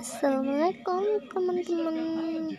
Assalamualaikum teman-teman